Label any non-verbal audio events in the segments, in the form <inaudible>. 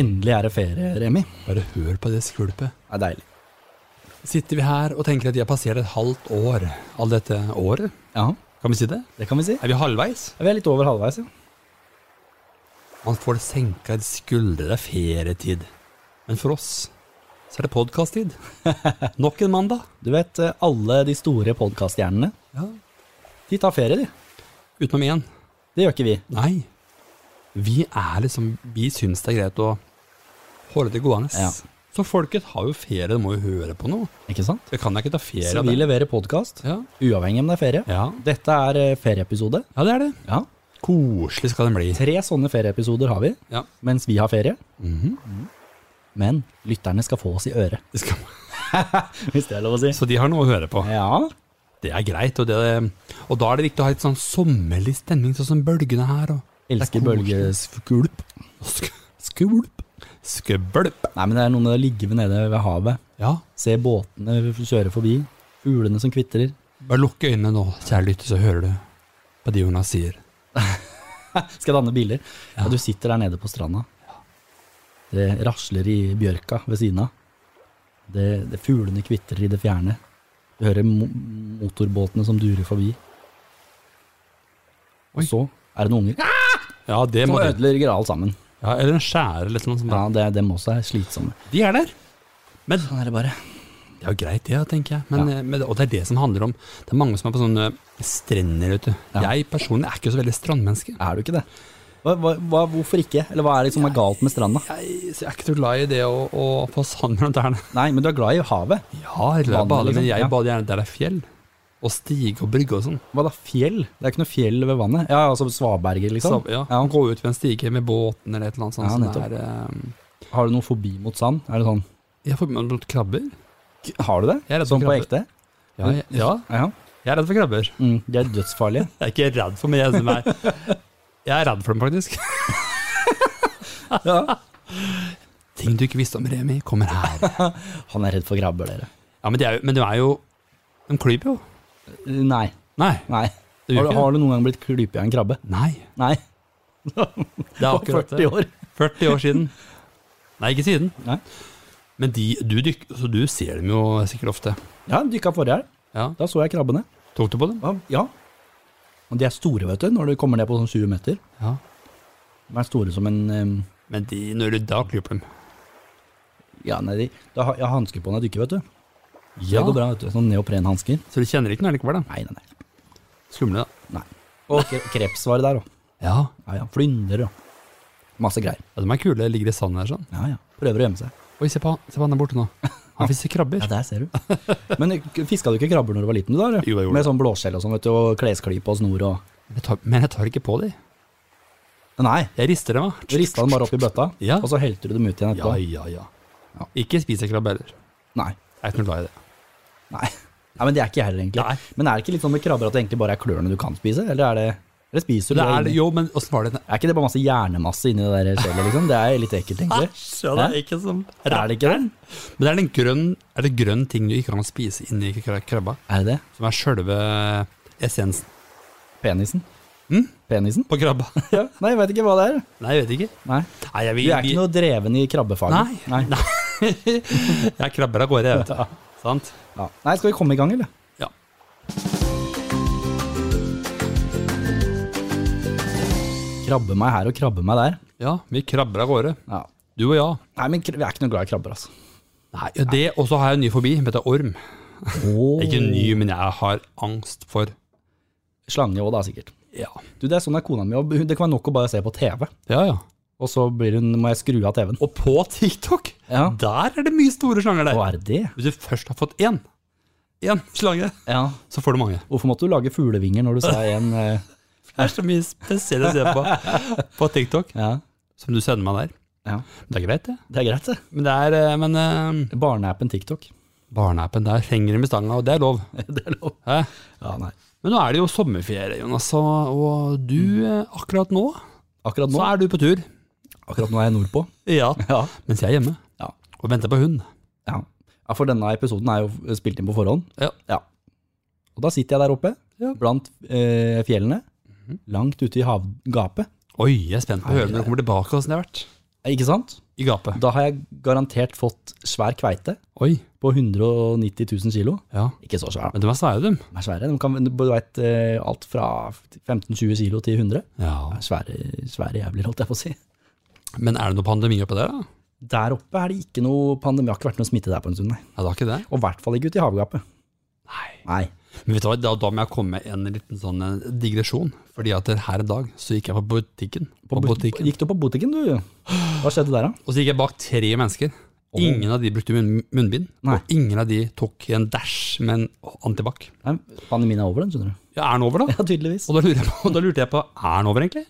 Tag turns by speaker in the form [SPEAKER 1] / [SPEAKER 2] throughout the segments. [SPEAKER 1] Endelig er det ferie, Remi.
[SPEAKER 2] Bare hør på det skvulpet.
[SPEAKER 1] Det er deilig.
[SPEAKER 2] Sitter vi her og tenker at de har passert et halvt år. All dette året?
[SPEAKER 1] Ja,
[SPEAKER 2] Kan vi si det?
[SPEAKER 1] det kan vi si.
[SPEAKER 2] Er vi halvveis?
[SPEAKER 1] Vi er litt over halvveis, ja.
[SPEAKER 2] Man får senka et skuldre, det er ferietid. Men for oss så er det <laughs> podkast-tid. Nok en mandag.
[SPEAKER 1] Du vet, eh, alle de store podkasthjernene,
[SPEAKER 2] Ja.
[SPEAKER 1] de tar ferie, de.
[SPEAKER 2] Utenom én.
[SPEAKER 1] Det gjør ikke vi.
[SPEAKER 2] Nei. Vi er liksom Vi syns det er greit å holde det gående.
[SPEAKER 1] Ja.
[SPEAKER 2] Så folket har jo ferie, de må jo høre på noe.
[SPEAKER 1] Ikke sant?
[SPEAKER 2] Det kan jeg ikke ta ferie
[SPEAKER 1] Så
[SPEAKER 2] av.
[SPEAKER 1] vi
[SPEAKER 2] det.
[SPEAKER 1] leverer podkast,
[SPEAKER 2] Ja.
[SPEAKER 1] uavhengig om det er ferie.
[SPEAKER 2] Ja.
[SPEAKER 1] Dette er eh, ferieepisode.
[SPEAKER 2] ja, det er det.
[SPEAKER 1] Ja.
[SPEAKER 2] Koselig skal den bli.
[SPEAKER 1] Tre sånne ferieepisoder har vi,
[SPEAKER 2] Ja.
[SPEAKER 1] mens vi har ferie.
[SPEAKER 2] Mhm.
[SPEAKER 1] Men lytterne skal få oss i øret, <laughs>
[SPEAKER 2] Det skal,
[SPEAKER 1] hvis det er lov å si.
[SPEAKER 2] så de har noe å høre på.
[SPEAKER 1] Ja,
[SPEAKER 2] Det er greit. Og, det, og da er det viktig å ha litt sånn sommerlig stemning, sånn som bølgene her. Og
[SPEAKER 1] elsker
[SPEAKER 2] Det er koselig.
[SPEAKER 1] bølgeskvulp.
[SPEAKER 2] og sk skvulp. Skvulp.
[SPEAKER 1] Nei, men det er noe med å ligge ved nede ved havet,
[SPEAKER 2] Ja.
[SPEAKER 1] se båtene kjøre forbi, fuglene som kvitrer.
[SPEAKER 2] Bare lukk øynene nå, kjære lytter, så hører du på de ungene sier.
[SPEAKER 1] Skal danne biler. Ja. du sitter der nede på stranda. Det rasler i bjørka ved siden av. Det, det Fuglene kvitrer i det fjerne. Du hører mo motorbåtene som durer forbi.
[SPEAKER 2] Oi.
[SPEAKER 1] Og så er det noen unger
[SPEAKER 2] Ja, det
[SPEAKER 1] som
[SPEAKER 2] må det.
[SPEAKER 1] ødelegger alt sammen.
[SPEAKER 2] Ja, eller en skjære eller noe sånt.
[SPEAKER 1] Sånn, Ja, det, Dem også er slitsomme.
[SPEAKER 2] De er der. Men
[SPEAKER 1] Sånn er det bare.
[SPEAKER 2] det er jo greit, det, tenker jeg. Men, eh, men, og det er det som handler om Det er mange som er på sånne strender, vet du. Jeg personlig er ikke så veldig strandmenneske.
[SPEAKER 1] Er du ikke det? Hva, hva, hva, hvorfor ikke? Eller hva er det som er galt med stranda?
[SPEAKER 2] Jeg, så jeg er ikke så glad i det å, å få sand mellom tærne.
[SPEAKER 1] Nei, men du er glad i havet.
[SPEAKER 2] Ja, eller
[SPEAKER 1] Vann,
[SPEAKER 2] bade,
[SPEAKER 1] liksom.
[SPEAKER 2] men jeg
[SPEAKER 1] Ja.
[SPEAKER 2] bader gjerne der det er fjell. Og stige og brygge og sånn.
[SPEAKER 1] Hva da, fjell? Det er ikke noe fjell ved vannet? Ja, altså svaberger,
[SPEAKER 2] Så,
[SPEAKER 1] liksom?
[SPEAKER 2] ja. Gå ut ved en stige med båten eller et eller annet sånt.
[SPEAKER 1] Ja,
[SPEAKER 2] som
[SPEAKER 1] nettopp.
[SPEAKER 2] er, eh,
[SPEAKER 1] Har du noe fobi mot sand? Er det sånn
[SPEAKER 2] jeg får med meg noen krabber.
[SPEAKER 1] Har du det?
[SPEAKER 2] Jeg er redd for
[SPEAKER 1] Sånn på
[SPEAKER 2] krabber.
[SPEAKER 1] ekte?
[SPEAKER 2] Ja, jeg, ja,
[SPEAKER 1] Ja.
[SPEAKER 2] jeg er redd for krabber.
[SPEAKER 1] Mm, de er dødsfarlige.
[SPEAKER 2] Jeg er ikke redd for meg. Jeg er- jeg er redd for dem, faktisk.
[SPEAKER 1] <laughs> Ja.
[SPEAKER 2] Ting du ikke visste om Remi, kommer her.
[SPEAKER 1] Han er redd for krabber, dere.
[SPEAKER 2] Ja, Men, de er, jo- men du er jo De klyper jo.
[SPEAKER 1] Nei.
[SPEAKER 2] Nei.
[SPEAKER 1] nei.
[SPEAKER 2] Det gjør
[SPEAKER 1] Har,
[SPEAKER 2] ikke det.
[SPEAKER 1] har du noen gang blitt klypet av en krabbe?
[SPEAKER 2] Nei.
[SPEAKER 1] Nei.
[SPEAKER 2] Det er akkurat det.
[SPEAKER 1] 40 år.
[SPEAKER 2] 40 år siden. <laughs> Nei, ikke siden.
[SPEAKER 1] Nei.
[SPEAKER 2] Men de, du, dyk- så du ser dem jo sikkert ofte.
[SPEAKER 1] Ja, dykka forrige helg.
[SPEAKER 2] Ja.
[SPEAKER 1] Da så jeg krabbene.
[SPEAKER 2] Tok du på dem?
[SPEAKER 1] Ja. ja. Og de er store, vet du, når du kommer ned på sånn 20 meter.
[SPEAKER 2] Ja.
[SPEAKER 1] De er store som en em,
[SPEAKER 2] Men de, når du da klyper dem
[SPEAKER 1] Ja, nei, de, da har, jeg har hansker på når jeg dykker, vet du.
[SPEAKER 2] Ja.
[SPEAKER 1] Det går bra, vet du. Sånn neoprenhansker.
[SPEAKER 2] Så du kjenner ikke noe likevel, da?
[SPEAKER 1] Nei, nei, nei.
[SPEAKER 2] Skumle, da.
[SPEAKER 1] nei. Og kre- kreps var det der òg.
[SPEAKER 2] Ja.
[SPEAKER 1] Ja, ja. Flynder og masse greier.
[SPEAKER 2] ja. De er kule. Ligger i sanden her sånn.
[SPEAKER 1] Ja, ja. Prøver å gjemme seg.
[SPEAKER 2] Oi, se på han, se på han der borte nå. Han fisker krabber.
[SPEAKER 1] Ja, der ser du. Men fiska du ikke krabber når du var liten? du da? eller?
[SPEAKER 2] Jo, jeg gjorde
[SPEAKER 1] Med sånn blåskjell og sånn, vet du, og klesklype og snor og
[SPEAKER 2] <laughs> Jeg tar, men jeg tar ikke på dem.
[SPEAKER 1] Nei,
[SPEAKER 2] Jeg rister dem av.
[SPEAKER 1] du rista den bare opp i bøtta,
[SPEAKER 2] Ja.
[SPEAKER 1] og så helte du dem ut igjen
[SPEAKER 2] Ja,
[SPEAKER 1] etterpå.
[SPEAKER 2] ja, ja.
[SPEAKER 1] Ja.
[SPEAKER 2] Ikke spiser krabbe heller.
[SPEAKER 1] Nei.
[SPEAKER 2] Jeg er ikke noe glad i det.
[SPEAKER 1] Nei. Nei, men det er ikke jeg heller, egentlig.
[SPEAKER 2] Nei.
[SPEAKER 1] Men er det ikke litt sånn med krabber at det egentlig bare er klørne du kan spise, eller er det Eller spiser du
[SPEAKER 2] det
[SPEAKER 1] det
[SPEAKER 2] er,
[SPEAKER 1] inni?
[SPEAKER 2] jo, men åssen var det
[SPEAKER 1] Er ikke det bare masse hjernemasse inni det der skjellet, liksom? Det er litt ekkelt,
[SPEAKER 2] <laughs>
[SPEAKER 1] egentlig.
[SPEAKER 2] ja, det er ikke som
[SPEAKER 1] Er det ikke det?
[SPEAKER 2] Men er det en grønn, er det grønn ting du ikke kan spise inni kra- krabba?
[SPEAKER 1] Er det det?
[SPEAKER 2] Som er sjølve essensen
[SPEAKER 1] Penisen?
[SPEAKER 2] Mm?
[SPEAKER 1] Penisen?
[SPEAKER 2] på krabba?
[SPEAKER 1] Ja. Nei, jeg veit ikke hva det er.
[SPEAKER 2] Nei, jeg vet ikke.
[SPEAKER 1] Nei.
[SPEAKER 2] Nei, jeg,
[SPEAKER 1] Du er ikke noe dreven i krabbefaget?
[SPEAKER 2] Nei. Jeg krabber av gårde, jeg vet
[SPEAKER 1] Ja.
[SPEAKER 2] du. Sant?
[SPEAKER 1] Ja. Nei, skal vi komme i gang, eller?
[SPEAKER 2] Ja.
[SPEAKER 1] Krabbe meg her og krabbe meg der.
[SPEAKER 2] ja, vi krabber av gårde.
[SPEAKER 1] Ja.
[SPEAKER 2] Du og jeg.
[SPEAKER 1] Nei, men kr- vi er ikke noe glad i krabber, altså.
[SPEAKER 2] Nei, ja, det, Og så har jeg en ny fobi, som heter orm. Ikke ny, men jeg har angst for
[SPEAKER 1] Slange òg, da, sikkert.
[SPEAKER 2] Ja,
[SPEAKER 1] Du, Det er sånn er kona mi. og hun- Det kan være nok å bare se på TV,
[SPEAKER 2] ja. ja.
[SPEAKER 1] og så blir hun, må jeg skru av TV-en.
[SPEAKER 2] Og på TikTok,
[SPEAKER 1] Ja.
[SPEAKER 2] der er det mye store slanger der.
[SPEAKER 1] Hva er det?
[SPEAKER 2] Hvis du først har fått én, én slange,
[SPEAKER 1] Ja.
[SPEAKER 2] så får du mange.
[SPEAKER 1] Hvorfor måtte du lage fuglevinger når du sa en eh,
[SPEAKER 2] Det er så mye spesielt å se på på TikTok,
[SPEAKER 1] ja.
[SPEAKER 2] som du sender meg der.
[SPEAKER 1] ja.
[SPEAKER 2] Det er greit, det.
[SPEAKER 1] Det er greit, det.
[SPEAKER 2] Men, det er, eh, men eh,
[SPEAKER 1] Barneappen TikTok. <laughs>
[SPEAKER 2] barneappen der henger dem i stanga, og det er lov.
[SPEAKER 1] det er lov.
[SPEAKER 2] Hæ?
[SPEAKER 1] Ja, nei.
[SPEAKER 2] Men nå er det jo sommerferie, Jonas, og, og du eh, akkurat nå,
[SPEAKER 1] Akkurat nå,
[SPEAKER 2] så er du på tur.
[SPEAKER 1] akkurat nå er jeg nordpå.
[SPEAKER 2] Ja.
[SPEAKER 1] Ja.
[SPEAKER 2] Mens jeg er hjemme
[SPEAKER 1] Ja.
[SPEAKER 2] og venter på hund.
[SPEAKER 1] ja. ja, for denne episoden er jo spilt inn på forhånd.
[SPEAKER 2] Ja.
[SPEAKER 1] Og da sitter jeg der oppe,
[SPEAKER 2] Ja. Mhm.
[SPEAKER 1] blant eh, fjellene, langt ute i havgapet.
[SPEAKER 2] Oi, jeg er spent på å
[SPEAKER 1] Nei,
[SPEAKER 2] høre når du kommer tilbake, åssen det har vært.
[SPEAKER 1] Eh, Ikke sant?
[SPEAKER 2] i gapet.
[SPEAKER 1] Da har jeg garantert fått svær kveite
[SPEAKER 2] Oi.
[SPEAKER 1] på 190 000 kilo.
[SPEAKER 2] Ja.
[SPEAKER 1] Ikke så svær, da.
[SPEAKER 2] Men de er svære, dem.
[SPEAKER 1] De er svære. De kan, du vet, eh, alt fra 15-20 kilo til 100.
[SPEAKER 2] Ja.
[SPEAKER 1] Det er svære, svære jævler, holdt jeg på å si.
[SPEAKER 2] Men er det noe pandemi oppi der, da?
[SPEAKER 1] Der oppe er det ikke noe pandemi. Det har ikke vært noe smitte der på en stund, nei.
[SPEAKER 2] Ja, det har ikke det.
[SPEAKER 1] Og i hvert fall ikke ute i havgapet.
[SPEAKER 2] Nei.
[SPEAKER 1] Nei.
[SPEAKER 2] Men vet du hva, da, da må jeg komme med en liten sånn eh, digresjon. Fordi at eh, her en dag så gikk jeg på butikken. På
[SPEAKER 1] På but-
[SPEAKER 2] butikken.
[SPEAKER 1] Gikk du på butikken, du? Hva skjedde der, da?
[SPEAKER 2] Og så gikk jeg bak tre mennesker. Ingen av de brukte munn, munnbind.
[SPEAKER 1] Nei.
[SPEAKER 2] Og ingen av de tok en dash med en antibac.
[SPEAKER 1] Nei, pandemien er over, den, skjønner du.
[SPEAKER 2] Ja, er den over, da?
[SPEAKER 1] Ja, tydeligvis.
[SPEAKER 2] Og da, lurer jeg på, <laughs> da lurte jeg på, er den over, egentlig?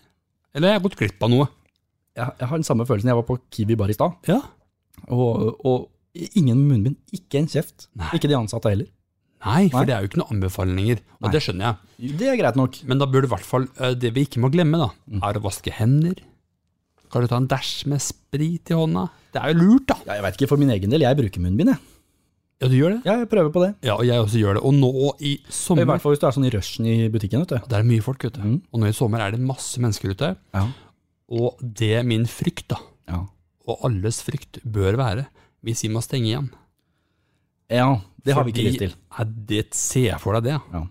[SPEAKER 2] Eller har jeg gått glipp av noe?
[SPEAKER 1] Jeg, jeg har den samme følelsen. Jeg var på Kiwi bar i stad,
[SPEAKER 2] Ja.
[SPEAKER 1] og, og ingen munnbind, ikke en kjeft.
[SPEAKER 2] Nei.
[SPEAKER 1] Ikke de ansatte heller.
[SPEAKER 2] Nei, for
[SPEAKER 1] Nei.
[SPEAKER 2] det er jo ikke noen anbefalinger. Og
[SPEAKER 1] Nei.
[SPEAKER 2] det skjønner jeg.
[SPEAKER 1] Det er greit nok.
[SPEAKER 2] Men da burde i hvert fall eh, Det vi ikke må glemme, da, er å vaske hender. Kan du ta en dash med sprit i hånda? Det er jo lurt, da.
[SPEAKER 1] Ja, jeg veit ikke for min egen del. Jeg bruker munnbind, jeg.
[SPEAKER 2] Ja, du gjør det?
[SPEAKER 1] Ja, jeg prøver på det.
[SPEAKER 2] Ja, og jeg også gjør det. Og nå i
[SPEAKER 1] I
[SPEAKER 2] sommer
[SPEAKER 1] hvert fall hvis du er sånn i rushen i butikken, vet du.
[SPEAKER 2] Det er mye folk, vet du.
[SPEAKER 1] Mm.
[SPEAKER 2] Og nå i sommer er det masse mennesker ute.
[SPEAKER 1] Ja.
[SPEAKER 2] Og det er min frykt, da.
[SPEAKER 1] Ja.
[SPEAKER 2] og alles frykt bør være hvis vi må stenge igjen.
[SPEAKER 1] det har vi ikke
[SPEAKER 2] Fordi-
[SPEAKER 1] lyst til.
[SPEAKER 2] Nei, det ser jeg for deg, det.
[SPEAKER 1] Ja.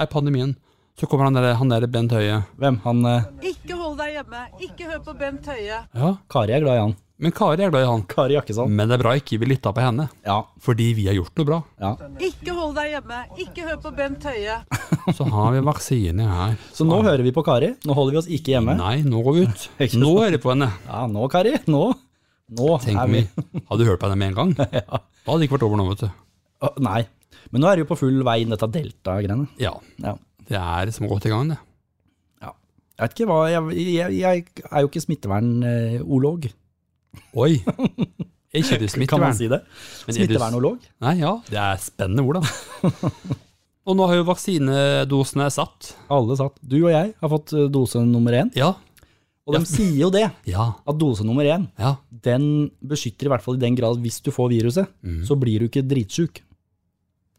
[SPEAKER 2] Er pandemien. Så kommer han der, han der Bent Høie.
[SPEAKER 1] Hvem? Han eh,
[SPEAKER 3] Ikke hold deg hjemme. Ikke hør på Bent Høie.
[SPEAKER 2] Ja,
[SPEAKER 1] Kari er glad i han.
[SPEAKER 2] men Kari er glad i han.
[SPEAKER 1] Kari Jakkesand.
[SPEAKER 2] Men det er bra ikke vi lytta på henne,
[SPEAKER 1] Ja.
[SPEAKER 2] fordi vi har gjort noe bra.
[SPEAKER 1] ja.
[SPEAKER 3] Ikke hold deg hjemme. Ikke hør på Bent Høie.
[SPEAKER 2] Så har vi vaksine
[SPEAKER 1] <laughs>
[SPEAKER 2] her.
[SPEAKER 1] Så nå hører vi på Kari. Nå holder vi oss ikke hjemme.
[SPEAKER 2] Nei, nå går vi ut.
[SPEAKER 1] <laughs> Ikke sant?
[SPEAKER 2] Nå hører vi på henne.
[SPEAKER 1] Ja, nå, Kari. Nå. Nå
[SPEAKER 2] Tenk
[SPEAKER 1] er
[SPEAKER 2] om
[SPEAKER 1] vi
[SPEAKER 2] vi <laughs> hadde hørt på henne med en gang.
[SPEAKER 1] <laughs>
[SPEAKER 2] Da hadde det ikke vært over nå, vet du.
[SPEAKER 1] Å, Nei. Men nå er det jo på full vei inn dette delta-greiene.
[SPEAKER 2] Ja,
[SPEAKER 1] Ja.
[SPEAKER 2] det er som godt i gang, det.
[SPEAKER 1] ja. Jeg vet ikke hva Jeg, jeg, jeg er jo ikke smittevernolog, <laughs>
[SPEAKER 2] Oi. Er ikke du
[SPEAKER 1] kan man
[SPEAKER 2] smittevern?
[SPEAKER 1] si det?
[SPEAKER 2] Men er du-
[SPEAKER 1] Smittevernolog?
[SPEAKER 2] Nei, ja, det er spennende hvordan.
[SPEAKER 1] <laughs>
[SPEAKER 2] Og nå har jo vaksinedosene satt.
[SPEAKER 1] Alle satt. Du og jeg har fått eh, dose nummer én.
[SPEAKER 2] Ja.
[SPEAKER 1] Og de sier jo det,
[SPEAKER 2] Ja.
[SPEAKER 1] at dose nummer én
[SPEAKER 2] Ja.
[SPEAKER 1] den beskytter i hvert fall i den grad hvis du får viruset,
[SPEAKER 2] Mhm.
[SPEAKER 1] så blir du ikke dritsjuk.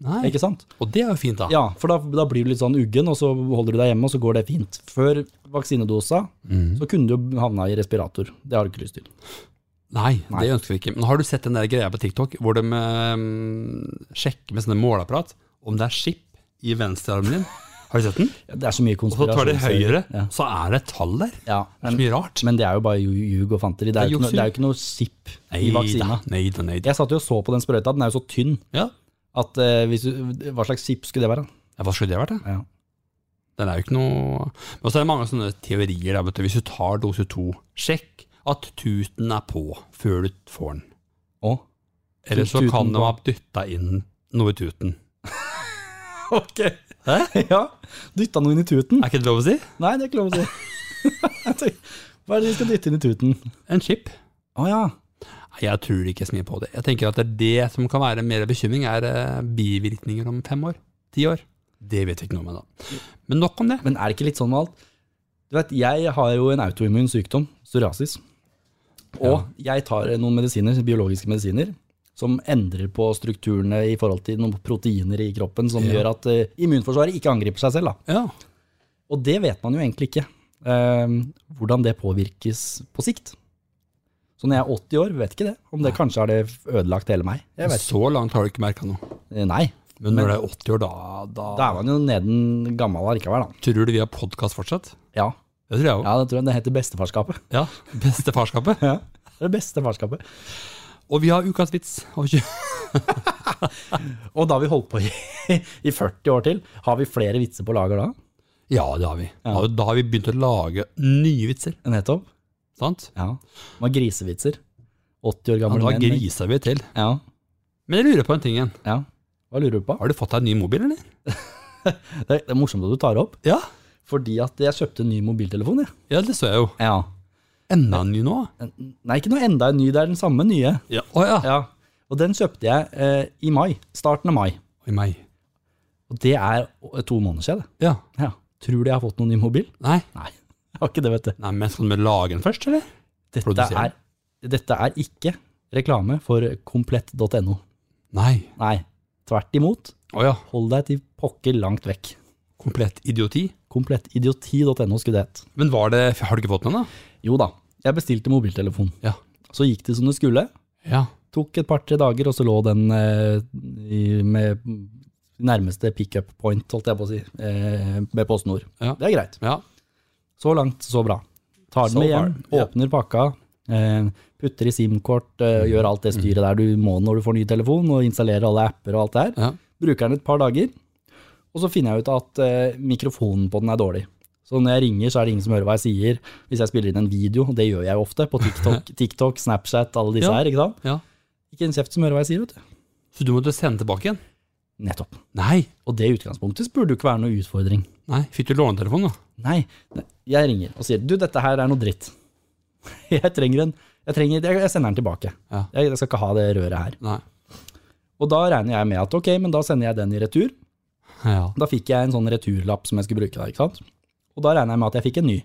[SPEAKER 2] Nei.
[SPEAKER 1] Ikke sant?
[SPEAKER 2] Og det er jo fint, da.
[SPEAKER 1] Ja, for da, da blir du litt sånn uggen, og så holder du deg hjemme, og så går det fint. Før vaksinedosa, så kunne du jo havna i respirator. Det har du ikke lyst til.
[SPEAKER 2] Nei, det ønsker vi ikke. Men har du sett den der greia på TikTok hvor de eh, sjekker med sånne måleapparat om det er skip i venstrearmen din? Har du sett den?
[SPEAKER 1] Ja, Det er så mye
[SPEAKER 2] Så
[SPEAKER 1] konspirasjon.
[SPEAKER 2] tar de høyre,
[SPEAKER 1] Ja.
[SPEAKER 2] så er det et tall der. Det
[SPEAKER 1] Ja,
[SPEAKER 2] er så
[SPEAKER 1] men,
[SPEAKER 2] mye rart.
[SPEAKER 1] men det er jo bare ju- ljug og fanteri. Det er jo ikke, noe-
[SPEAKER 2] Det er
[SPEAKER 1] det er jo ikke noe sipp i vaksina.
[SPEAKER 2] nei da, nei da.
[SPEAKER 1] Jeg satt jo og så på den sprøyta, den er jo så tynn
[SPEAKER 2] Ja.
[SPEAKER 1] at eh, hvis du, hva slags sipp skulle det være?
[SPEAKER 2] ja, hva skulle det vært, da?
[SPEAKER 1] Ja.
[SPEAKER 2] Den er jo ikke noe Men så er det mange sånne teorier der, vet du. Hvis du tar dose to, sjekk at tuten er på før du får den.
[SPEAKER 1] Å?
[SPEAKER 2] Eller så
[SPEAKER 1] Tuten
[SPEAKER 2] kan de
[SPEAKER 1] på.
[SPEAKER 2] ha dytta inn noe
[SPEAKER 1] <laughs>
[SPEAKER 2] i tuten.
[SPEAKER 1] Ok. <laughs> Ja, dytta noe inn i tuten.
[SPEAKER 2] Er ikke det lov å si?
[SPEAKER 1] Nei, det er ikke lov å si. <laughs> Jeg tenker, Hva er det de skal dytte inn i tuten?
[SPEAKER 2] En chip.
[SPEAKER 1] Å ja.
[SPEAKER 2] Nei, Jeg tror ikke så mye på det. Jeg tenker at det, er det som kan være mer bekymring, er eh, bivirkninger om fem år. Ti år. Det vet vi ikke noe om ennå. Men nok om det.
[SPEAKER 1] Men er det ikke litt sånn med alt? Du vet, jeg har jo en autoimmun sykdom, psoriasis. Og jeg tar noen medisiner, biologiske medisiner, som endrer på strukturene i forhold til noen proteiner i kroppen, som
[SPEAKER 2] Ja.
[SPEAKER 1] gjør at eh, immunforsvaret ikke angriper seg selv. Da.
[SPEAKER 2] Ja.
[SPEAKER 1] Og det vet man jo egentlig ikke, eh, hvordan det påvirkes på sikt. Så når jeg er 80 år, vet ikke det. Om det kanskje har det ødelagt hele meg. Jeg vet.
[SPEAKER 2] Så langt har du ikke merka noe.
[SPEAKER 1] ikke. Eh, Nei.
[SPEAKER 2] Men når det er 80 år, da, da,
[SPEAKER 1] Da er man jo neden gammel allikevel, da.
[SPEAKER 2] Tror du vi har podkast fortsatt?
[SPEAKER 1] Ja.
[SPEAKER 2] Det tror jeg òg.
[SPEAKER 1] ja, det tror jeg det heter bestefarskapet.
[SPEAKER 2] Ja. Beste farskapet.
[SPEAKER 1] <laughs> Ja. Det er det beste farskapet.
[SPEAKER 2] Og vi har ukas vits. Og kjø-
[SPEAKER 1] Og da har vi holdt på i, i <laughs> 40 år til. Har vi flere vitser på lager da?
[SPEAKER 2] <laughs> Ja, det har vi. Da- Da har vi begynt å lage nye vitser.
[SPEAKER 1] Nettopp.
[SPEAKER 2] Sant?
[SPEAKER 1] Ja. Det var grisevitser. 80 år
[SPEAKER 2] Ja,
[SPEAKER 1] gammel
[SPEAKER 2] da
[SPEAKER 1] menn.
[SPEAKER 2] griser vi til.
[SPEAKER 1] Ja,
[SPEAKER 2] Men jeg lurer på en ting igjen.
[SPEAKER 1] ja. Hva lurer du på?
[SPEAKER 2] Har du fått deg en ny mobil, eller?
[SPEAKER 1] Det er, det er morsomt at du tar opp,
[SPEAKER 2] Ja.
[SPEAKER 1] fordi at jeg kjøpte en ny mobiltelefon, jeg.
[SPEAKER 2] Ja, det så jeg jo.
[SPEAKER 1] Ja.
[SPEAKER 2] Enda en ny nå.
[SPEAKER 1] Nei, ikke noe enda en ny, det er den samme nye.
[SPEAKER 2] Ja. Å ja.
[SPEAKER 1] Ja. Og den kjøpte jeg eh, i mai. Starten av mai.
[SPEAKER 2] Oi, meg.
[SPEAKER 1] Og det er to måneder siden. det.
[SPEAKER 2] Ja.
[SPEAKER 1] Ja. Tror du jeg har fått noen ny mobil?
[SPEAKER 2] Nei.
[SPEAKER 1] Nei, jeg har ikke det, vet du.
[SPEAKER 2] Nei, men skal vi lage den først, eller?
[SPEAKER 1] Dette
[SPEAKER 2] Produsere.
[SPEAKER 1] er, dette er ikke reklame for komplett.no.
[SPEAKER 2] Nei.
[SPEAKER 1] Nei, tvert imot.
[SPEAKER 2] Å ja.
[SPEAKER 1] Hold deg til pokker langt vekk.
[SPEAKER 2] Komplett idioti.
[SPEAKER 1] Komplettidioti.no skulle det hett.
[SPEAKER 2] Men var det Har du ikke fått den ennå?
[SPEAKER 1] Jo da, jeg bestilte mobiltelefon.
[SPEAKER 2] Ja.
[SPEAKER 1] Så gikk det som det skulle.
[SPEAKER 2] Ja.
[SPEAKER 1] Tok et par-tre dager, og så lå den eh, i, med nærmeste pickup point, holdt jeg på å si, eh, med PostNord.
[SPEAKER 2] Ja.
[SPEAKER 1] Det er greit.
[SPEAKER 2] ja.
[SPEAKER 1] Så langt, så bra. Tar den
[SPEAKER 2] So
[SPEAKER 1] med hjem,
[SPEAKER 2] far, ja.
[SPEAKER 1] åpner pakka, eh, putter i SIM-kort, eh, gjør alt
[SPEAKER 2] Mm.
[SPEAKER 1] det styret der du må når du får ny telefon, og installerer alle apper og alt det her.
[SPEAKER 2] ja.
[SPEAKER 1] Bruker den et par dager, og så finner jeg ut at eh, mikrofonen på den er dårlig. Så når jeg ringer, så er det ingen som hører hva jeg sier. Hvis jeg spiller inn en video, og det gjør jeg ofte, på
[SPEAKER 2] <laughs>
[SPEAKER 1] TikTok, TikTok Snapchat, alle disse
[SPEAKER 2] Ja.
[SPEAKER 1] her, ikke sant?
[SPEAKER 2] Ja.
[SPEAKER 1] Ikke en kjeft som hører hva jeg sier, vet du.
[SPEAKER 2] Så du måtte sende tilbake igjen?
[SPEAKER 1] Nettopp.
[SPEAKER 2] Nei.
[SPEAKER 1] Og det i utgangspunktet burde jo ikke være noe utfordring.
[SPEAKER 2] Nei, Fikk du lånetelefonen, da?
[SPEAKER 1] Nei, ne- jeg ringer og sier du, dette her er noe dritt. <laughs> Jeg trenger en, jeg, trenger, jeg jeg sender den tilbake.
[SPEAKER 2] Ja.
[SPEAKER 1] Jeg, jeg skal ikke ha det røret her.
[SPEAKER 2] Nei.
[SPEAKER 1] Og da regner jeg med at ok, men da sender jeg den i retur.
[SPEAKER 2] Ja.
[SPEAKER 1] Da fikk jeg en sånn returlapp som jeg skulle bruke der, ikke sant. Og da regner jeg med at jeg fikk en ny,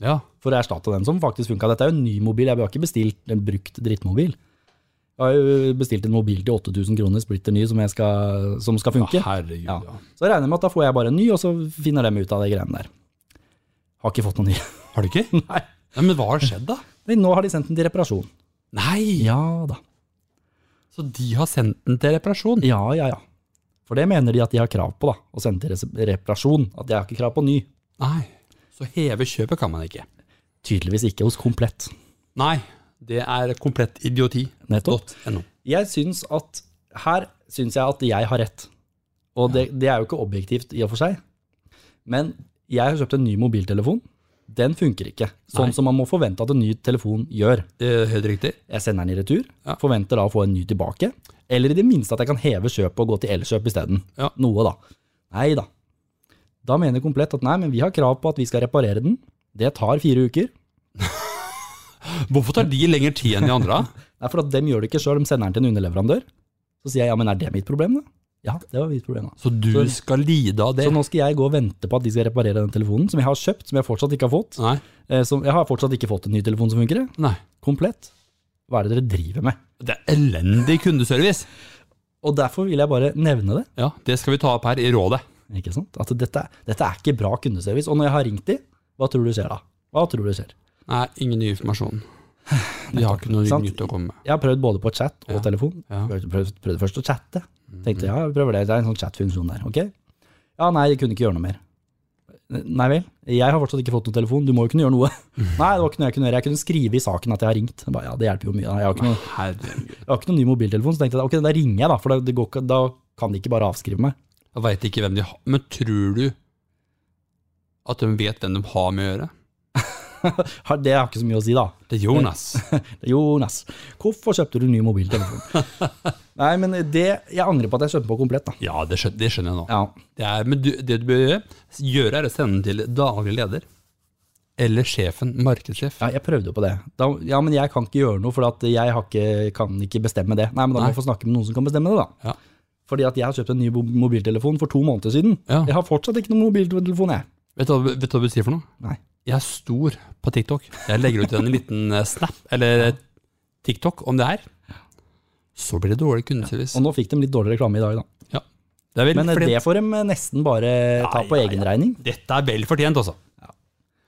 [SPEAKER 2] ja.
[SPEAKER 1] for å erstatte den som faktisk funka. Dette er jo en ny mobil, jeg har ikke bestilt en brukt drittmobil. Jeg har jo bestilt en mobil til 8000 kroner, splitter ny, som, jeg skal, som skal funke.
[SPEAKER 2] Herregud,
[SPEAKER 1] Ja.
[SPEAKER 2] ja.
[SPEAKER 1] Så jeg regner med at da får jeg bare en ny, og så finner de ut av de greiene der. Har ikke fått noen ny. <laughs>
[SPEAKER 2] Har du ikke?
[SPEAKER 1] Nei.
[SPEAKER 2] <laughs> Nei, Men hva har skjedd, da?
[SPEAKER 1] Men nå har de sendt den til reparasjon.
[SPEAKER 2] Nei!
[SPEAKER 1] Ja da.
[SPEAKER 2] Så de har sendt den til reparasjon?
[SPEAKER 1] Ja, ja, ja. For det mener de at de har krav på, da. Å sende til res- reparasjon. At de har ikke krav på ny.
[SPEAKER 2] Nei. Så heve kjøpet kan man ikke.
[SPEAKER 1] Tydeligvis ikke hos Komplett.
[SPEAKER 2] Nei. Det er komplett idioti.
[SPEAKER 1] Nettopp.
[SPEAKER 2] .no.
[SPEAKER 1] Jeg syns at her syns jeg at jeg har rett. Og det, det er jo ikke objektivt i og for seg. Men jeg har kjøpt en ny mobiltelefon. Den funker ikke. Sånn
[SPEAKER 2] Nei.
[SPEAKER 1] som man må forvente at en ny telefon gjør.
[SPEAKER 2] Eh, Helt riktig.
[SPEAKER 1] Jeg sender den i retur,
[SPEAKER 2] Ja.
[SPEAKER 1] forventer da å få en ny tilbake. Eller i det minste at jeg kan heve kjøpet og gå til Elkjøp isteden.
[SPEAKER 2] Ja.
[SPEAKER 1] Noe, da. Nei da. Da mener Komplett at nei, men vi har krav på at vi skal reparere den. Det tar fire uker.
[SPEAKER 2] Hvorfor tar de lengre tid enn de andre?
[SPEAKER 1] Det er for at dem gjør det ikke sjøl, de sender den til en underleverandør. Så sier jeg ja, men er det mitt problem, da? Ja, det var mitt problem, da.
[SPEAKER 2] <laughs> Så du
[SPEAKER 1] Så-
[SPEAKER 2] skal lide av det?
[SPEAKER 1] Så nå skal jeg gå og vente på at de skal reparere den telefonen som jeg har kjøpt, som jeg fortsatt ikke har fått.
[SPEAKER 2] Nei.
[SPEAKER 1] Eh, Som, jeg har fortsatt ikke fått en ny telefon som funker. jeg.
[SPEAKER 2] Nei.
[SPEAKER 1] Komplett. Hva er det dere driver med?
[SPEAKER 2] Det er elendig kundeservice.
[SPEAKER 1] Og derfor vil jeg bare nevne det.
[SPEAKER 2] Ja, det skal vi ta opp her i rådet.
[SPEAKER 1] Ikke sant? At dette, dette er ikke bra kundeservice. Og når jeg har ringt de, hva tror du skjer da? Hva tror du skjer?
[SPEAKER 2] Nei, ingen ny informasjon. <sighs> De har ikke noe
[SPEAKER 1] Sant.
[SPEAKER 2] nytt å komme med.
[SPEAKER 1] Jeg har prøvd både på chat og
[SPEAKER 2] Ja,
[SPEAKER 1] telefon.
[SPEAKER 2] ja.
[SPEAKER 1] Prøvde, prøvde, prøvde først å chatte. Tenkte ja, jeg prøver det. Det er en sånn chatfunksjon der. Ok? Ja, nei, jeg kunne ikke gjøre noe mer. Nei vel, jeg har fortsatt ikke fått noen telefon, du må jo kunne gjøre noe. Nei, det var ikke noe jeg kunne gjøre. Jeg kunne skrive i saken at jeg har ringt. Jeg Bare, ja, det hjelper jo mye. da. Jeg har ikke noen,
[SPEAKER 2] Herregud.
[SPEAKER 1] jeg har ikke noen ny mobiltelefon, så tenkte jeg ok, da ringer jeg, da. For det, det går, ikke- da kan de ikke bare avskrive meg. <laughs>
[SPEAKER 2] Jeg veit ikke hvem de har Men tror du at de vet hvem de har med å gjøre?
[SPEAKER 1] Har- Det har ikke så mye å si, da.
[SPEAKER 2] Det er <laughs> Jonas.
[SPEAKER 1] Jonas, hvorfor kjøpte du ny mobiltelefon? Nei, men det, jeg angrer på at jeg kjøpte på komplett, da.
[SPEAKER 2] Ja, det skjønner, det skjønner jeg nå.
[SPEAKER 1] Ja,
[SPEAKER 2] Det er, men du, det du bør gjøre, gjøre er å sende den til daglig leder. Eller sjefen. Markedssjef.
[SPEAKER 1] ja jeg prøvde jo på det. Da, ja, men jeg kan ikke gjøre noe, for at jeg har ikke, kan ikke bestemme det. Nei, men da må
[SPEAKER 2] Nei.
[SPEAKER 1] jeg få snakke med noen som kan bestemme det, da.
[SPEAKER 2] Ja.
[SPEAKER 1] Fordi at jeg har kjøpt en ny bo- mobiltelefon for to måneder siden.
[SPEAKER 2] Ja.
[SPEAKER 1] Jeg har fortsatt ikke noen mobiltelefon, jeg.
[SPEAKER 2] Vet, du, hva- vet du hva du sier for noe?
[SPEAKER 1] Nei.
[SPEAKER 2] Jeg er stor på TikTok. Jeg legger ut en liten eh, snap, eller eh, TikTok, om det her. Så blir det dårlig kundeservice.
[SPEAKER 1] Og nå fikk de litt dårlig reklame i dag, da.
[SPEAKER 2] Ja. Det er vel
[SPEAKER 1] Men eh,
[SPEAKER 2] fordi-
[SPEAKER 1] det får de eh, nesten bare ta på
[SPEAKER 2] ja, ja.
[SPEAKER 1] egen regning.
[SPEAKER 2] Dette er vel fortjent, altså.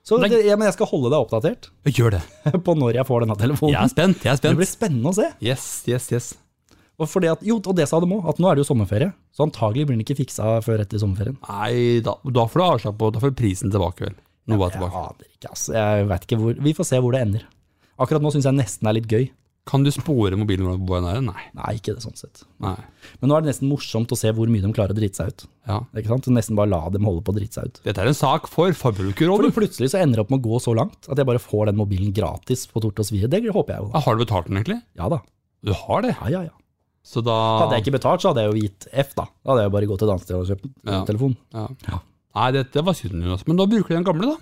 [SPEAKER 1] Så
[SPEAKER 2] Men-
[SPEAKER 1] det, ja, men jeg skal holde deg oppdatert <laughs>
[SPEAKER 2] Gjør det.
[SPEAKER 1] på når jeg får denne telefonen.
[SPEAKER 2] Jeg er spent. jeg er
[SPEAKER 1] Det blir
[SPEAKER 2] spent.
[SPEAKER 1] spennende å se.
[SPEAKER 2] Yes, yes, yes.
[SPEAKER 1] Og, fordi at, jo, og det sa de òg, at nå er det jo sommerferie, så antagelig blir den ikke fiksa før etter sommerferien.
[SPEAKER 2] Nei, da, da får du avslag på Da får du prisen tilbake, vel. Noe er
[SPEAKER 1] Jeg
[SPEAKER 2] tilbake.
[SPEAKER 1] aner ikke, altså. Jeg vet ikke hvor, vi får se hvor det ender. Akkurat nå syns jeg nesten er litt gøy.
[SPEAKER 2] Kan du spore mobilen hvor den er? Nei.
[SPEAKER 1] Nei, ikke det sånn sett.
[SPEAKER 2] Nei.
[SPEAKER 1] Men nå er det nesten morsomt å se hvor mye de klarer å drite seg ut.
[SPEAKER 2] Ja.
[SPEAKER 1] Ikke sant? Nesten bare la dem holde på å drite seg ut.
[SPEAKER 2] Dette er en sak for
[SPEAKER 1] Fordi
[SPEAKER 2] Forbrukerrådet.
[SPEAKER 1] plutselig så ender det opp med å gå så langt at jeg bare får den mobilen gratis på Torte og Svie. Det håper jeg jo. da.
[SPEAKER 2] Ah, Har du betalt den, egentlig?
[SPEAKER 1] Ja da.
[SPEAKER 2] Du har det.
[SPEAKER 1] Ja, ja, ja.
[SPEAKER 2] Så da
[SPEAKER 1] Hadde jeg ikke betalt, så hadde jeg jo gitt F, da. Da hadde jeg jo bare gått til dansestedet og kjøpt en
[SPEAKER 2] Ja.
[SPEAKER 1] telefon.
[SPEAKER 2] Ja.
[SPEAKER 1] Ja.
[SPEAKER 2] Nei, dette var synd, Jonas. Men da bruker du den gamle, da.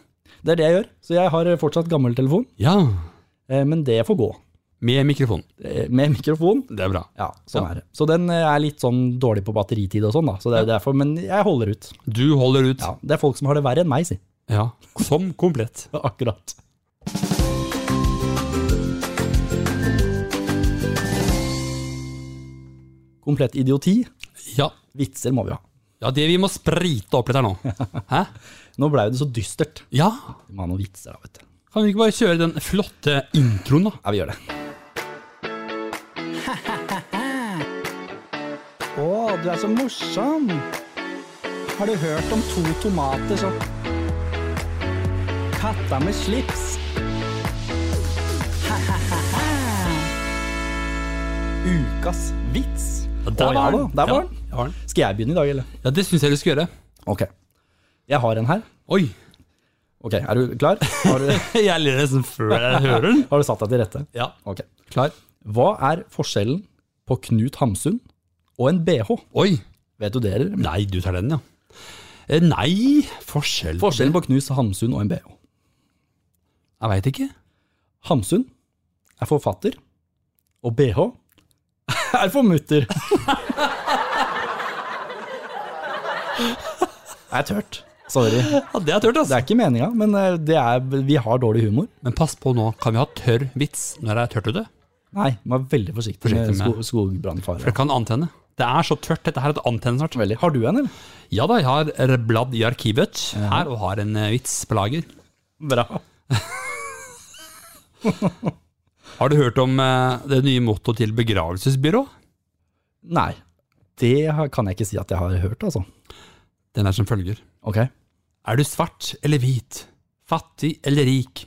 [SPEAKER 1] Det er det jeg gjør. Så jeg har fortsatt gammel telefon,
[SPEAKER 2] Ja.
[SPEAKER 1] eh, men det får gå.
[SPEAKER 2] Med mikrofon.
[SPEAKER 1] Eh, Med mikrofon.
[SPEAKER 2] Det er bra.
[SPEAKER 1] Ja, sånn
[SPEAKER 2] Ja.
[SPEAKER 1] er det. Så den eh, er litt sånn dårlig på batteritid og sånn, da. Så det er derfor, men jeg holder ut.
[SPEAKER 2] Du holder ut.
[SPEAKER 1] Ja, det er folk som har det verre enn meg, si. <laughs>
[SPEAKER 2] ja. Som komplett.
[SPEAKER 1] Akkurat. Komplett idioti.
[SPEAKER 2] Ja.
[SPEAKER 1] Vitser må vi ha.
[SPEAKER 2] Ja, det vi må sprite opp litt <laughs> her nå. Hæ?
[SPEAKER 1] Nå blei det så dystert.
[SPEAKER 2] Ja.
[SPEAKER 1] Vi må ha noen vitser, da, vet du.
[SPEAKER 2] Kan vi ikke bare kjøre den flotte introen, da?
[SPEAKER 1] Ja, vi gjør det. du er så morsom! Har du hørt om to tomater som Katta med slips! Ukas vits. Der var den. Der var den.
[SPEAKER 2] Ja, den.
[SPEAKER 1] Skal jeg begynne i dag, eller?
[SPEAKER 2] ja, det syns jeg du skal gjøre.
[SPEAKER 1] Ok. Jeg har en her.
[SPEAKER 2] Oi!
[SPEAKER 1] Ok, Er du klar? Har du,
[SPEAKER 2] <laughs> Jeg ler nesten før jeg hører den.
[SPEAKER 1] har du satt deg til rette?
[SPEAKER 2] <laughs> Ja,
[SPEAKER 1] Ok.
[SPEAKER 2] klar.
[SPEAKER 1] Hva er forskjellen på Knut Hamsun og en bh?
[SPEAKER 2] Oi!
[SPEAKER 1] Vet du det, eller?
[SPEAKER 2] Nei, du tar den, ja. Eh, Nei, forskjell
[SPEAKER 1] Forskjellen på Knut Hamsun og en bh.
[SPEAKER 2] Jeg veit ikke.
[SPEAKER 1] Hamsun er forfatter, og bh er for mutter. Det er tørt. Sorry.
[SPEAKER 2] Ja, Det er tørt,
[SPEAKER 1] Det
[SPEAKER 2] altså.
[SPEAKER 1] er ikke meninga, men eh, det er, vi har dårlig humor.
[SPEAKER 2] Men pass på nå, kan vi ha tørr vits når det er tørt ute?
[SPEAKER 1] Nei, man er veldig forsiktig med,
[SPEAKER 2] Forsiktig med-
[SPEAKER 1] sko skogbrannfare.
[SPEAKER 2] For det kan antenne. Det er så tørt, dette her at det antenner snart.
[SPEAKER 1] <laughs> Veldig. Har du en, eller?
[SPEAKER 2] Ja da, jeg har bladd i arkivet her og har en eh, vits på lager.
[SPEAKER 1] Bra.
[SPEAKER 2] Har du hørt om eh, det nye mottoet til begravelsesbyrå?
[SPEAKER 1] Nei. Det har- kan jeg ikke si at jeg har hørt, altså.
[SPEAKER 2] Den er som følger.
[SPEAKER 1] Ok.
[SPEAKER 2] Er du svart eller hvit? Fattig eller rik?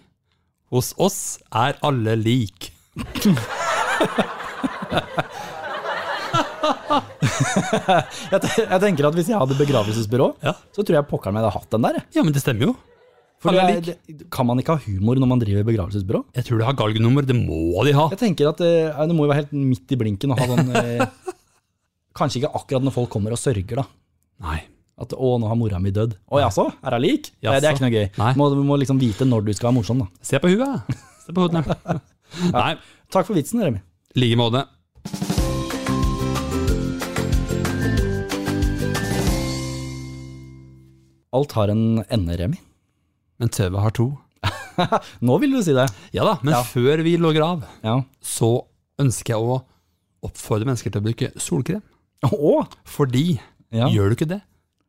[SPEAKER 2] Hos oss er alle lik.
[SPEAKER 1] Jeg, te- jeg tenker at Hvis jeg hadde begravelsesbyrå,
[SPEAKER 2] Ja.
[SPEAKER 1] så tror jeg pokker meg hadde hatt den der. jeg.
[SPEAKER 2] Ja, men det stemmer jo.
[SPEAKER 1] For
[SPEAKER 2] Alle er
[SPEAKER 1] det er- det- Kan man ikke ha humor når man driver begravelsesbyrå?
[SPEAKER 2] Jeg tror de har galgenummer, det må de ha.
[SPEAKER 1] Jeg tenker at eh, Det må jo være helt midt i blinken å ha sånn eh, <laughs> Kanskje ikke akkurat når folk kommer og sørger, da.
[SPEAKER 2] Nei.
[SPEAKER 1] At 'å, nå har mora mi dødd'. 'Å jaså, er hun lik?' Nei, det er
[SPEAKER 2] Jaså.
[SPEAKER 1] ikke noe gøy.
[SPEAKER 2] Nei.
[SPEAKER 1] Du må, du må liksom vite når du skal være morsom, da.
[SPEAKER 2] Se på huet. Se på <laughs> hodene. Nei,
[SPEAKER 1] Takk for vitsen, Remi.
[SPEAKER 2] i like måte.
[SPEAKER 1] Alt har en ende, Remi.
[SPEAKER 2] Men TV har to.
[SPEAKER 1] Nå vil du si det.
[SPEAKER 2] Ja da, men før vi logger av,
[SPEAKER 1] Ja.
[SPEAKER 2] så ønsker jeg å oppfordre mennesker til å bruke solkrem.
[SPEAKER 1] Å,
[SPEAKER 2] Fordi
[SPEAKER 1] Ja.
[SPEAKER 2] gjør du ikke det,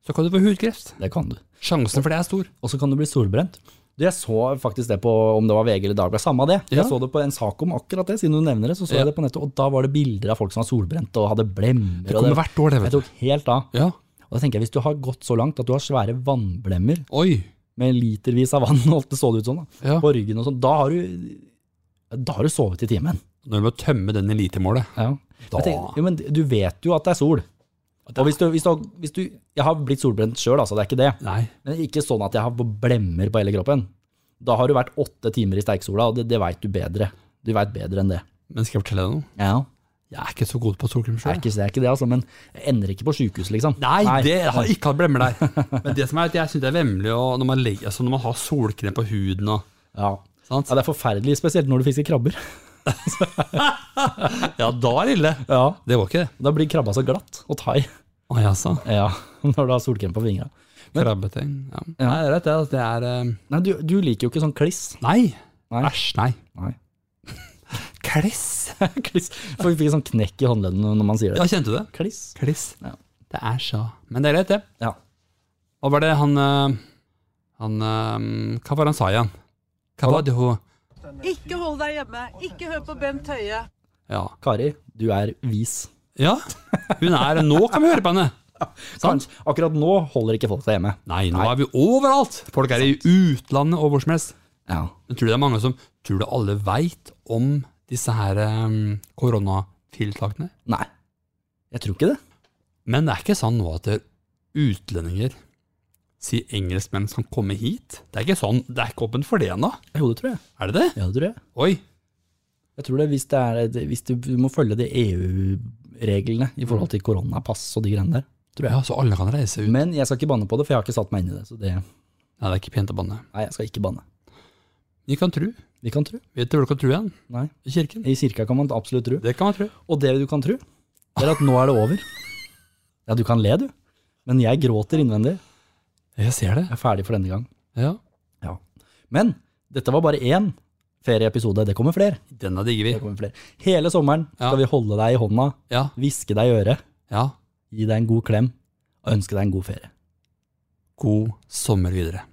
[SPEAKER 2] så kan du få hudkreft.
[SPEAKER 1] det kan du.
[SPEAKER 2] Sjansen for det er stor.
[SPEAKER 1] Og så kan du bli solbrent. Du, Jeg så faktisk det på om det var VG eller Dagbladet, samme av det.
[SPEAKER 2] Ja.
[SPEAKER 1] Jeg så det på en sak om akkurat det, siden du nevner det. så så
[SPEAKER 2] Ja.
[SPEAKER 1] jeg det på nettet, Og da var det bilder av folk som var solbrent og hadde blemmer.
[SPEAKER 2] Det kommer
[SPEAKER 1] og
[SPEAKER 2] hvert år, det,
[SPEAKER 1] Jeg
[SPEAKER 2] vet du.
[SPEAKER 1] tok helt av.
[SPEAKER 2] Ja.
[SPEAKER 1] Og da tenker jeg, Hvis du har gått så langt at du har svære vannblemmer
[SPEAKER 2] Oi.
[SPEAKER 1] med litervis av vann, <laughs> ofte så det ut sånn, da,
[SPEAKER 2] Ja.
[SPEAKER 1] på ryggen og sånn, da har du da har du sovet i timen.
[SPEAKER 2] Når du må tømme den elitemålet.
[SPEAKER 1] Ja.
[SPEAKER 2] Da.
[SPEAKER 1] Jeg tenker, jo, men du vet jo at det er sol. Og hvis du, hvis du, hvis du, jeg har blitt solbrent sjøl, altså, det er ikke det.
[SPEAKER 2] Nei.
[SPEAKER 1] Men ikke sånn at jeg har blemmer på hele kroppen. Da har du vært åtte timer i steiksola, og det, det veit du bedre. Du veit bedre enn det.
[SPEAKER 2] Men skal jeg fortelle deg noe?
[SPEAKER 1] Ja.
[SPEAKER 2] Jeg er ikke så god på solkrem
[SPEAKER 1] Det er
[SPEAKER 2] sjøl.
[SPEAKER 1] ikke, det er ikke det, altså, men jeg ender ikke på sjukehuset, liksom.
[SPEAKER 2] Nei, det jeg har ikke hatt blemmer der. <laughs> Men det som er at jeg syns det er vemmelig å- når, man legger- altså når man har solkrem på huden og
[SPEAKER 1] Ja.
[SPEAKER 2] sant?
[SPEAKER 1] ja, det er forferdelig, spesielt når du fisker krabber.
[SPEAKER 2] Ja, da er det ille.
[SPEAKER 1] Ja.
[SPEAKER 2] Det går ikke, det.
[SPEAKER 1] <laughs> Da blir krabba så glatt og tai.
[SPEAKER 2] Å jaså.
[SPEAKER 1] Ja, <laughs> når du har solkrem på fingra.
[SPEAKER 2] Krabbeting. Ja. Nei, det er rett, det. altså, Det er eh,
[SPEAKER 1] Nei, du, du liker jo ikke sånn kliss.
[SPEAKER 2] Nei.
[SPEAKER 1] Nei.
[SPEAKER 2] Æsj, nei.
[SPEAKER 1] Nei.
[SPEAKER 2] Kliss.
[SPEAKER 1] <laughs> kliss. For vi fikk sånn knekk i håndleddene når man sier det.
[SPEAKER 2] Ja, kjente du det?
[SPEAKER 1] Kliss.
[SPEAKER 2] Kliss.
[SPEAKER 1] Ja.
[SPEAKER 2] Det er så Men det er greit, det.
[SPEAKER 1] Ja.
[SPEAKER 2] Hva var det han eh, Han eh, Hva var det han sa igjen? Hva var det hun
[SPEAKER 3] Ikke hold deg hjemme. Ikke hør på Bent Høie.
[SPEAKER 2] Ja.
[SPEAKER 1] Kari, du er vis.
[SPEAKER 2] ja. Hun er Nå kan vi høre på henne! Sant?
[SPEAKER 1] Kanskje- Akkurat nå holder ikke folk seg hjemme.
[SPEAKER 2] Nei, nå er vi overalt! Folk er i utlandet og hvor som helst.
[SPEAKER 1] Ja.
[SPEAKER 2] Men tror du det er mange som Tror du alle veit om disse her eh, koronatiltakene?
[SPEAKER 1] Nei. Jeg tror ikke det.
[SPEAKER 2] Men det er ikke sånn nå at det- utlendinger sier engelskmenn skal komme hit. Det er ikke sånn, det er ikke åpent for det ennå.
[SPEAKER 1] Jo, det tror jeg.
[SPEAKER 2] Er det det?
[SPEAKER 1] Ja, det tror jeg.
[SPEAKER 2] Oi.
[SPEAKER 1] Jeg tror det hvis, det er, det- hvis du, du må følge de EU-reglene i forhold til koronapass og de greiene der.
[SPEAKER 2] Ja, så altså, alle kan reise ut.
[SPEAKER 1] Men jeg skal ikke banne på det, for jeg har ikke satt meg inn i det. Så det,
[SPEAKER 2] Nei, det er ikke pent å banne.
[SPEAKER 1] nei, jeg skal ikke banne.
[SPEAKER 2] Vi kan tro.
[SPEAKER 1] Vi kan tro.
[SPEAKER 2] Vet du hvor du kan tro igjen?
[SPEAKER 1] Nei.
[SPEAKER 2] I kirken.
[SPEAKER 1] I kirka kan man absolutt tro.
[SPEAKER 2] Det kan man tro.
[SPEAKER 1] Og det du kan tro, det er at nå er det over. Ja, du kan le, du. Men jeg gråter innvendig.
[SPEAKER 2] Jeg ser
[SPEAKER 1] Jeg
[SPEAKER 2] det.
[SPEAKER 1] er ferdig for denne gang.
[SPEAKER 2] Ja.
[SPEAKER 1] Ja. Men dette var bare én ferieepisode. Det kommer flere.
[SPEAKER 2] Denne digger
[SPEAKER 1] Det
[SPEAKER 2] vi.
[SPEAKER 1] kommer flere. Hele sommeren
[SPEAKER 2] Ja.
[SPEAKER 1] skal vi holde deg i hånda,
[SPEAKER 2] Ja.
[SPEAKER 1] hviske deg i øret,
[SPEAKER 2] Ja.
[SPEAKER 1] gi deg en god klem og ønske deg en god ferie.
[SPEAKER 2] God sommer videre.